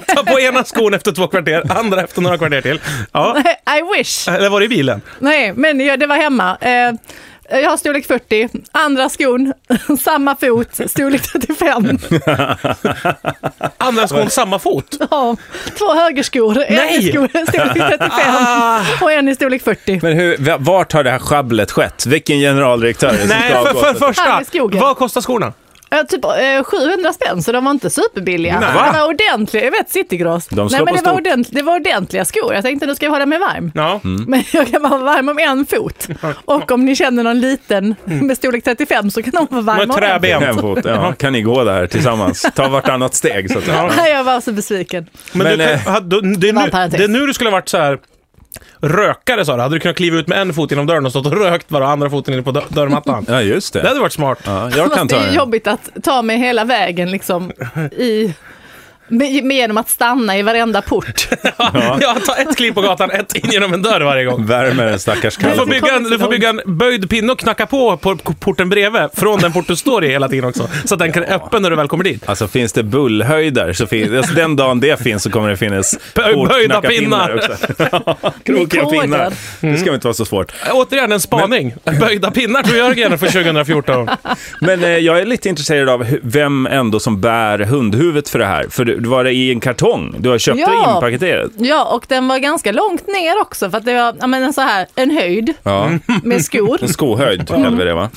Ta på ena skon efter två kvarter, andra efter några kvarter till. Ja. innan. I wish. Eller var det i bilen? Nej, men jag, det var hemma. Eh, jag har storlek 40, andra skon, samma fot, storlek 35. Andra skon samma fot. Ja, två högerskor, en Nej! i skor, storlek 35 och en i storlek 40. Ah! Men hur, v- vart har det här sjabblet skett? Vilken generaldirektör är det som Nej, ska för, avgå? för första. Fan i skogen. Vad kostar skorna? Eh, Typ eh, 700 spänn, så de var inte superbilliga. Nej. Det var ordentliga, jag vet citygross. De slår Nej, men på det var, stort. Mm. ordentliga, det var ordentliga skor. Jag tänkte nu ska jag hålla mig varm. Ja. Men jag kan vara varm om en fot. Och om ni känner någon liten Mm. med storlek 35 så kan de vara varm Med om en fot. träben. En fot, ja. Kan ni gå där tillsammans? Ta vartannat steg så att säga. Nej, jag var så besviken. Men, Men, du, eh, kan- hade- det, är var nu, en parentes. det är nu du skulle ha varit så här rökare sa du. Hade du kunnat kliva ut med en fot genom dörren och stått och rökt bara och andra foten inne på dör- dörrmattan? Ja, just Det det. hade varit smart. Ja, jag kan Fast det ta är ju den. jobbigt att ta mig hela vägen liksom i... Med, med genom att stanna i varenda port. Ja, ta ett kliv på gatan, ett in genom en dörr varje gång. Värmer den stackars Du får, kallt. bygga en, du får bygga en böjd pinne och knacka på på porten bredvid, från den port du står i hela tiden också. Så att den kan öppen när du väl kommer dit. Alltså finns det bullhöjder så finns, alltså, den dagen det finns så kommer det finnas Bö- böjda portknackarpinnar pinnar. också. Krokiga Nikoder. pinnar. Det Mm. ska väl inte vara så svårt. Äh, Återigen en spaning. Böjda pinnar tror Jörgen för 2014. Men eh, jag är lite intresserad av hu- vem ändå som bär hundhuvudet för det här. För du, du var det i en kartong. Du har köpt det Ja. inpaketerat. Ja, och den var ganska långt ner också för att det var ja, men en så här, en höjd Ja. med skor. En skohöjd kallar vi det va?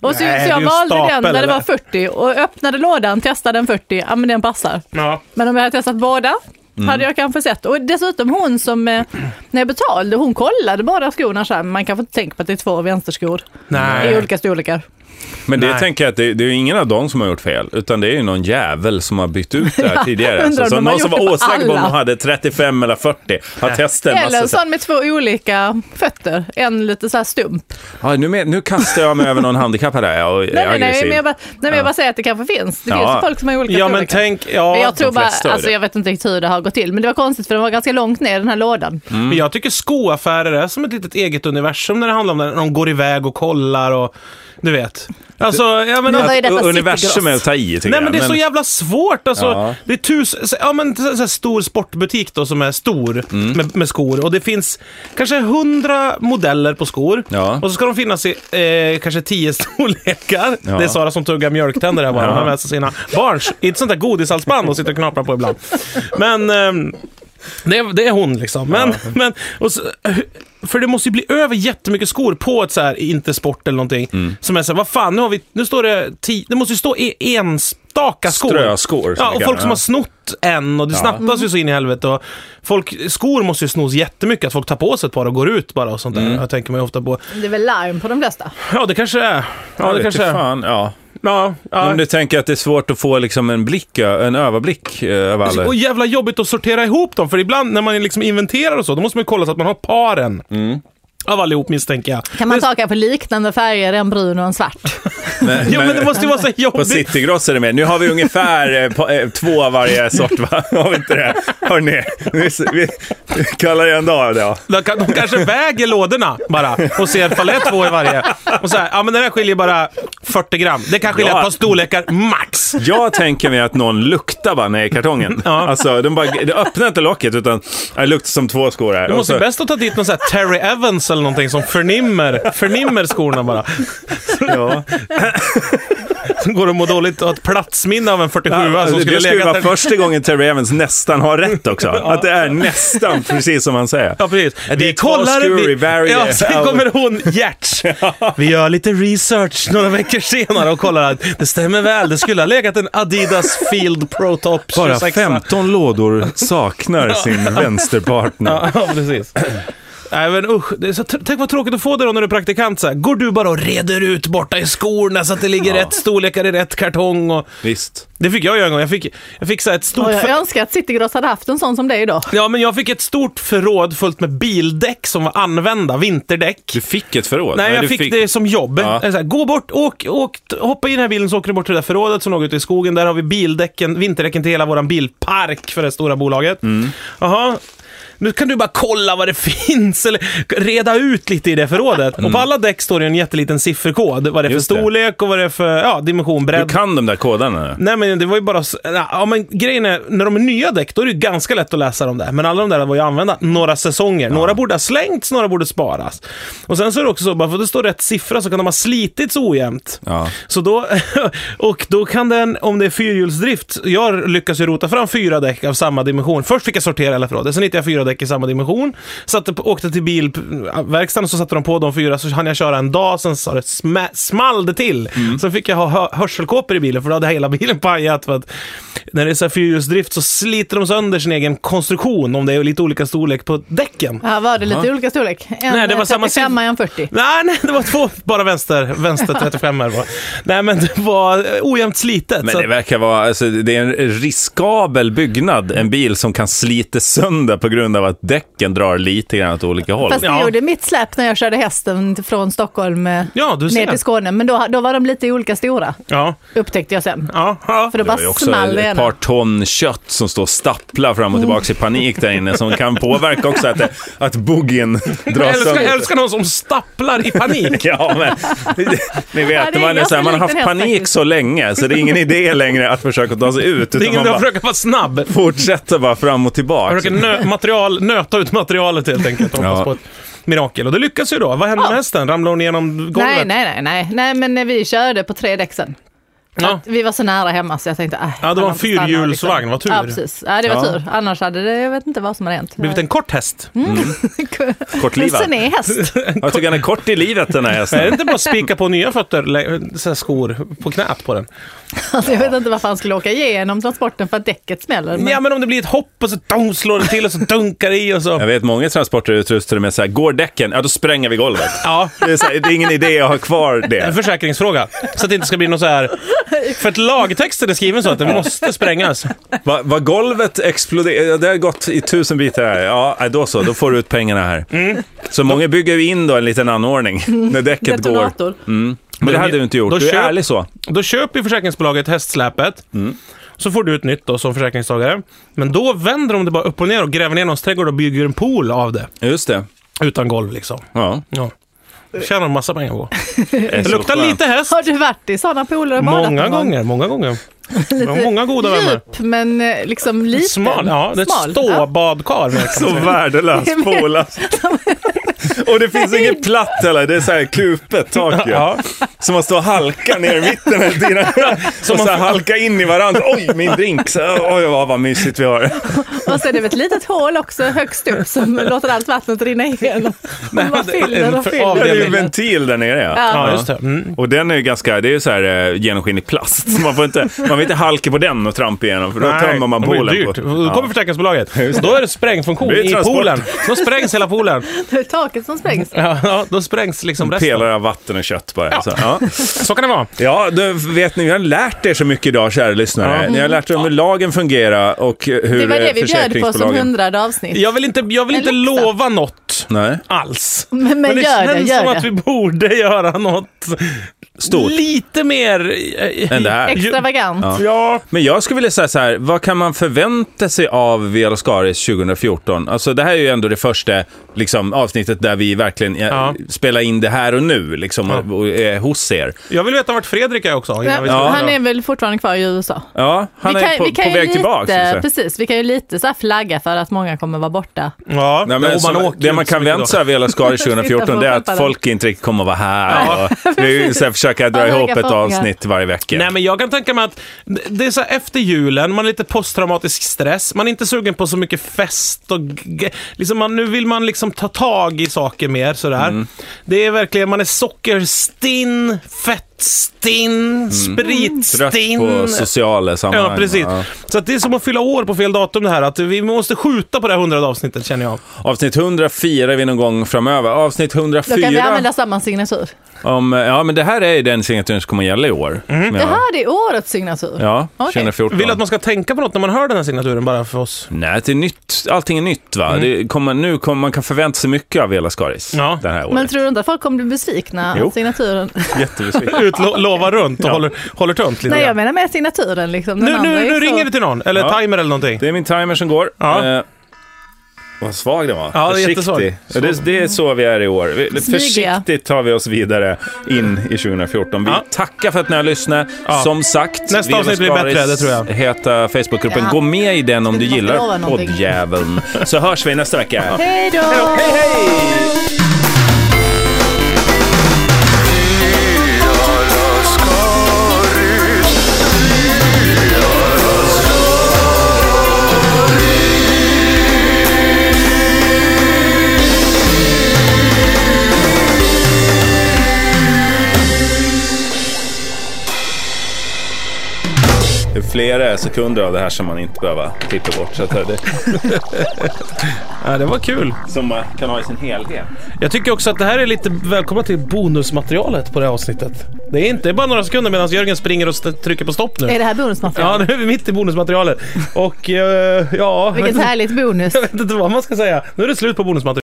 Och Nej, så, så det är jag ju valde stapel, den där det var eller? 40 och öppnade lådan, testade den 40, ja men den passar. Ja. Men om jag hade testat båda Mm. hade jag kanske sett. Och dessutom hon som, eh, när jag betalade, hon kollade bara skorna så här, men man kanske inte tänker på att det är två vänsterskor Nej. i olika storlekar. Men det Nej. tänker jag att det, det är ju ingen av dem som har gjort fel, utan det är ju någon jävel som har bytt ut det här tidigare. undrar alltså, om så de har någon som gjort var det på osäker på om de alla. hade 35 eller 40 har testat en Eller massa. en så- sån med två olika fötter. En lite så här stump. Ja, nu, men- nu kastar jag mig över någon handikappad här och är Nej, nej, nej, aggressiv. men jag bara, nej, men jag bara säger att det kanske finns. Det Ja. finns ju folk som har olika Ja, men storlekar. tänk... Ja, Men jag tror de bara, flesta är det. alltså jag vet inte riktigt hur det har gått till, men det var konstigt för den var ganska långt ner den här lådan. Men jag tycker skoaffärer är som ett litet eget universum när det handlar om när de går iväg och kollar och du vet. Alltså, jag menar, Men vad är detta U- Universum är att Citygross? ta i, tycker Nej jag. men det är så jävla svårt alltså. Ja. Det är tusen, så- ja men en stor sportbutik då som är stor Mm. med, med skor och det finns kanske hundra modeller på skor Ja. och så ska de finnas i eh, kanske tio storlekar. Ja. Det är Sara som tuggar mjölktänder här bara, hon har med sig sina barns i ett sånt där godishalsband och sitter och knaprar på ibland. Men ehm, det, är- det är hon liksom. Men, men, och så, för det måste ju bli över jättemycket skor på ett så här, inte sport eller någonting. Mm. Som är så här, vad fan, nu har vi, nu står det ti, det måste ju stå e- enstaka skor. Ströskor. som Ja, det och kallas, folk som ja. har snott en och det snattas ju så in i helvete. Och folk, skor måste ju snos jättemycket, att folk tar på sig ett par och går ut bara och sånt Mm. där. Jag tänker mig ofta på. Det är väl larm på de flesta. Ja, det kanske är. Ja, det vet kanske du är. Fan, ja. Ja, ja. Om du tänker att det är svårt att få liksom en blick, ö- en överblick eh, över alla. Och jävla jobbigt att sortera ihop dem, för ibland när man liksom inventerar och så, då måste man ju kolla så att man har paren. Mm. Av allihop misstänker jag. Kan man ta kanske liknande färger, en brun och en svart? Men, Ja men det måste ju vara så här På jobbigt. Citygross är det med. Nu har vi ungefär eh, på, eh, två av varje sort, va? Har vi inte det? Hörrni, vi, vi, vi kallar det en dag idag. De, kan, de kanske väger lådorna bara och ser ifall det är två i varje. Och så här, ja men den här skiljer bara 40 gram. Det kan skilja Ja. ett par storlekar max. Jag tänker mig att någon luktar bara ner i kartongen. Ja. Alltså, de bara, det öppnar inte locket utan det luktar som två skor här. Det Och måste så- ju bäst att ta dit någon sån här Terry Evans eller någonting som förnimmer, förnimmer skorna bara. ja. Som går och mår dåligt och har ett platsminne av en 47 Ja, som det skulle skulle ju legat vara där. första gången Terry Evans nästan har rätt också. Att det är nästan precis som han säger. Ja, precis. Ja, det är Vi två skor i varje. Ja, sen Ja. kommer hon, Gerts. Vi gör lite research några veckor senare och kollar att det stämmer väl. Det skulle ha legat en Adidas Field Pro Top 26. lådor saknar sin vänsterpartner. Ja, precis. Nej men usch, det är så, tänk vad tråkigt att få det då när du är praktikant så här. Går du bara och reder ut borta i skorna så att det ligger rätt storlekar i rätt kartong och... Visst. Det fick jag göra en gång, jag fick, jag fick så här ett stort... Och jag för- önskar att Citygross hade haft en sån som dig idag. Ja men jag fick ett stort förråd fullt med bildäck som var använda, vinterdäck. Du fick ett förråd. Nej, jag du fick, det som jobb. Ja. Jag är Så här, gå bort, åk, åk, t- hoppa i den här bilen så åker du bort till det där förrådet som låg ute i skogen. Där har vi bildäcken, vinterdäcken till hela vår bilpark för det stora bolaget. Mm. Jaha. Nu kan du bara kolla vad det finns, eller reda ut lite i det förrådet. Och på alla däck står det en jätteliten sifferkod. Vad det är för Mm. Just det. storlek och vad det är för ja, dimension, bredd. Du kan de där kodarna nu. Nej men det var ju bara... s- Ja men grejen är, när de är nya däck då är det ju ganska lätt att läsa dem där. Men alla de där var ju använda några säsonger. Några borde ha slängts, några borde sparas. Och sen så är det också så, bara för att det står rätt siffra så kan de ha slitits ojämnt. Ja. Så då, och då kan den, om det är fyrhjulsdrift, jag lyckas ju rota fram fyra däck av samma dimension. Först fick jag sortera alla förrådet, sen hittade jag fyra däck i samma dimension. Satte, på- åkte till bilverkstaden så satte de på de fyra, så hann jag köra en dag, sen sa det smä, small det till. Mm. Sen fick jag ha hö- hörselkåpor i bilen, för då hade hela bilen pajat. För att när det är så här fyrhjulsdrift så sliter de sönder sin egen konstruktion, om det är lite olika storlek på däcken. Här var det lite olika storlek. En Nej, det var samma 35 och en 40. Nej, nej, det var två bara vänster, vänster 35 här var. Nej, men det var eh, ojämnt slitet. Men så det verkar vara, alltså, det är en riskabel byggnad, en bil som kan slita sönder på grund av att däcken drar lite grann åt olika håll. Fast det Ja. gjorde mitt släp när jag körde hästen från Stockholm eh, Ja, du ner ser. till Skåne, men då, då var de lite olika stora, Ja, upptäckte jag sen. ja, ja. För då Det var ju bara också small det ett ena. par ton kött som står och stapplar fram och tillbaka i panik där inne som kan påverka också att, det, att boogien Jag drar älskar, jag sönder. älskar någon som stapplar i panik. Ja, men ni Ja, vet, det är man, är så här, man har ganska likt en haft häst panik faktiskt. så länge så det är ingen idé längre att försöka ta sig ut. Det är Utan ingen man idé att bara försöka vara snabb. fortsätter bara fram och tillbaka. Försöker nö material, nöta ut materialet helt enkelt och hoppas Ja. på ett mirakel. Och det lyckas ju då. Vad hände med hästen? Ramlade hon genom golvet? Nej, nej, nej, nej, nej, men när vi körde på tre däck sen. Ja. Vi var så nära hemma så jag tänkte... Äh, Ja, det var en jag stannar, fyrhjulsvagn, vad tur. liksom. Ja, precis. Ja, det var Ja. tur. Annars hade det, jag vet inte vad som hade hänt. Blivit en kort häst. Mm. Kortlivad. Sen är häst. Jag tycker han är kort i livet den här Är det hästen. inte bara att spika på nya fötter, lä- så här skor på knät på den? Alltså, jag vet inte varför han skulle åka igenom transporten för att däcket smäller. Men... Ja, men om det blir ett hopp och så dong, slår den till och så dunkar det i och Jag så. vet många transporter är utrustade med så här, går däcken, ja då spränger vi golvet. Ja, Det är, så här, det är ingen idé att ha kvar en det. försäkringsfråga. Så att det inte ska bli något så här... För att lagtexten är skriven så att den måste sprängas. Vad va golvet exploderar, det har gått i tusen bitar här. Ja, nej, då så, då får du ut pengarna här. Så många bygger ju in då en liten anordning när däcket går. Detonator. Mm. Men det hade du inte gjort, Då du är köp- ärlig så. Då köper ju försäkringsbolaget hästsläpet. Mm. Så får du ett nytt då som försäkringstagare. Men då vänder de det bara upp och ner och gräver ner någons trädgård och bygger en pool av det. Just det. Utan golv liksom. Ja. Ja. Tjänar en massa pengar på. Eh. Det är Det så luktar skönt. lite häst. Har du varit i sådana pooler och badat Många någon gång? gånger, många gånger. Jag har många goda vänner. Djup, men eh, liksom liten. Smal, ja. Det är Smal, ett ståbadkar verkligen. Så värdelös pool. alltså. Och det finns inget platt heller, det är så här klupet tak ju. Ja. Så man står och halkar ner i mitten hela tiden. Så man så här halkar in i varandra. Oj, min drink. Så, oj, vad, vad mysigt vi har. Och så är det ett litet hål också högst upp som låter allt vattnet rinna igenom. Man bara det är fyller en och för- Ja, det är ju en fyller. ventil där nere. Ja. Ja, just det. Mm. Och den är ju ganska, det är ju så här eh, genomskinlig plast. Så man, får inte, man vill inte halka på den och trampa igenom, för då tömmer man det blir poolen dyrt. på. Då kommer försäkringsbolaget. Då är det sprängfunktion Det är i transport. poolen. Då sprängs hela poolen. Det är taket som sprängs. Ja, ja, då sprängs liksom resten. Pelar av vatten och kött bara. Ja. Så, ja. Så kan det vara. Ja, då vet ni, vi har lärt er så mycket idag, kära lyssnare. Ja. Ni har lärt er om hur lagen fungerar och hur Det var det vi bjöd på som försäkringsbolagen... hundrade avsnitt. Jag vill inte, jag vill En inte läxa. lova något Nej. alls. Men, men, det gör det, känns gör som det. att vi borde göra något Stort. lite mer... eh, Än det här. Extravagant. Ja. Ja, Men jag skulle vilja säga så här, vad kan man förvänta sig av Viola Skaris 2014? Alltså det här är ju ändå det första liksom, avsnittet där vi verkligen eh, Ja. spelar in det här och nu, liksom, och, och är hos er. jag vill veta vart Fredrik är också. innan vi Men ska Han dra. är väl fortfarande kvar i USA? Ja, han är på, på ju väg lite, tillbaka. så att säga. Precis, vi kan ju lite så här flagga för att många kommer vara borta. Ja, Nej, och men man så, åker det ju man inte så kan mycket vänta då. sig av Vela Skaris Sitta 2014 på det är att pappan. folk inte riktigt kommer vara här. Och vi så här, försöka dra Ja, ihop höga ett förhoppningar. avsnitt varje vecka. Nej, men jag kan tänka mig att det- det är så här, efter julen, man är lite posttraumatisk stress, man är inte sugen på så mycket fest och g- liksom man, nu vill man liksom ta tag i saker mer sådär. Mm. Det är verkligen, man är sockerstinn, fettstinn, Mm. Trött spritstinn. på sociala sammanhang. Ja, precis. Så att det är som att fylla år på fel datum det här. Att vi måste skjuta på det här hundrade avsnittet känner jag. Avsnitt 100 firar vi någon gång framöver. Avsnitt Då kan vi 104, använda samma signatur. om, eh, ja men det här är ju den signaturen som kommer gälla i år. Mm. Det här det är årets signatur. Ja, Okej. 2014. Mhm. Vill att man ska tänka på något när man hör den här signaturen bara för oss. Nej, det är nytt. allting är nytt va. Det kommer, nu kommer, man kan förvänta sig mycket av Vela Skaris Mhm. Ja. det här året. Men tror du inte att folk kommer bli besvikna? Jo. att Signaturen. Jättebesviken. Utlova runt och håller, håller tunt lite Nej, jag grann. menar med signaturen. Liksom. Den Nu, andra nu, är nu så- ringer det till någon, eller Ja. timer eller någonting. Det är min timer som går. Ja. Eh, vad svag den var. Ja, det är Försiktig. jättesvag. Ja, det, det är så vi är i år. Vi, Smygiga. försiktigt tar vi oss vidare in i 2014. Vi Ja. tackar för att ni har lyssnat. Ja. Som sagt, Nästa Viola avsnitt blir Skaris bättre, det tror jag. heta Facebookgruppen. Ja. Gå med i den om du Skulle man lova gillar någonting? poddjäveln. Så hörs vi nästa vecka. Hej då! Det är flera sekunder av det här som man inte behöver klippa bort. Så att det, Ja, det var kul. som man kan ha i sin helhet. Jag tycker också att det här är lite välkomna till bonusmaterialet på det här avsnittet. Det är inte bara några sekunder medan Jörgen springer och st- trycker på stopp Är nu. det här bonusmaterial? Ja, nu är vi mitt i bonusmaterialet. Och eh, ja... Vilket härligt bonus. Jag vet inte vad man ska säga. Nu är det slut på bonusmaterialet.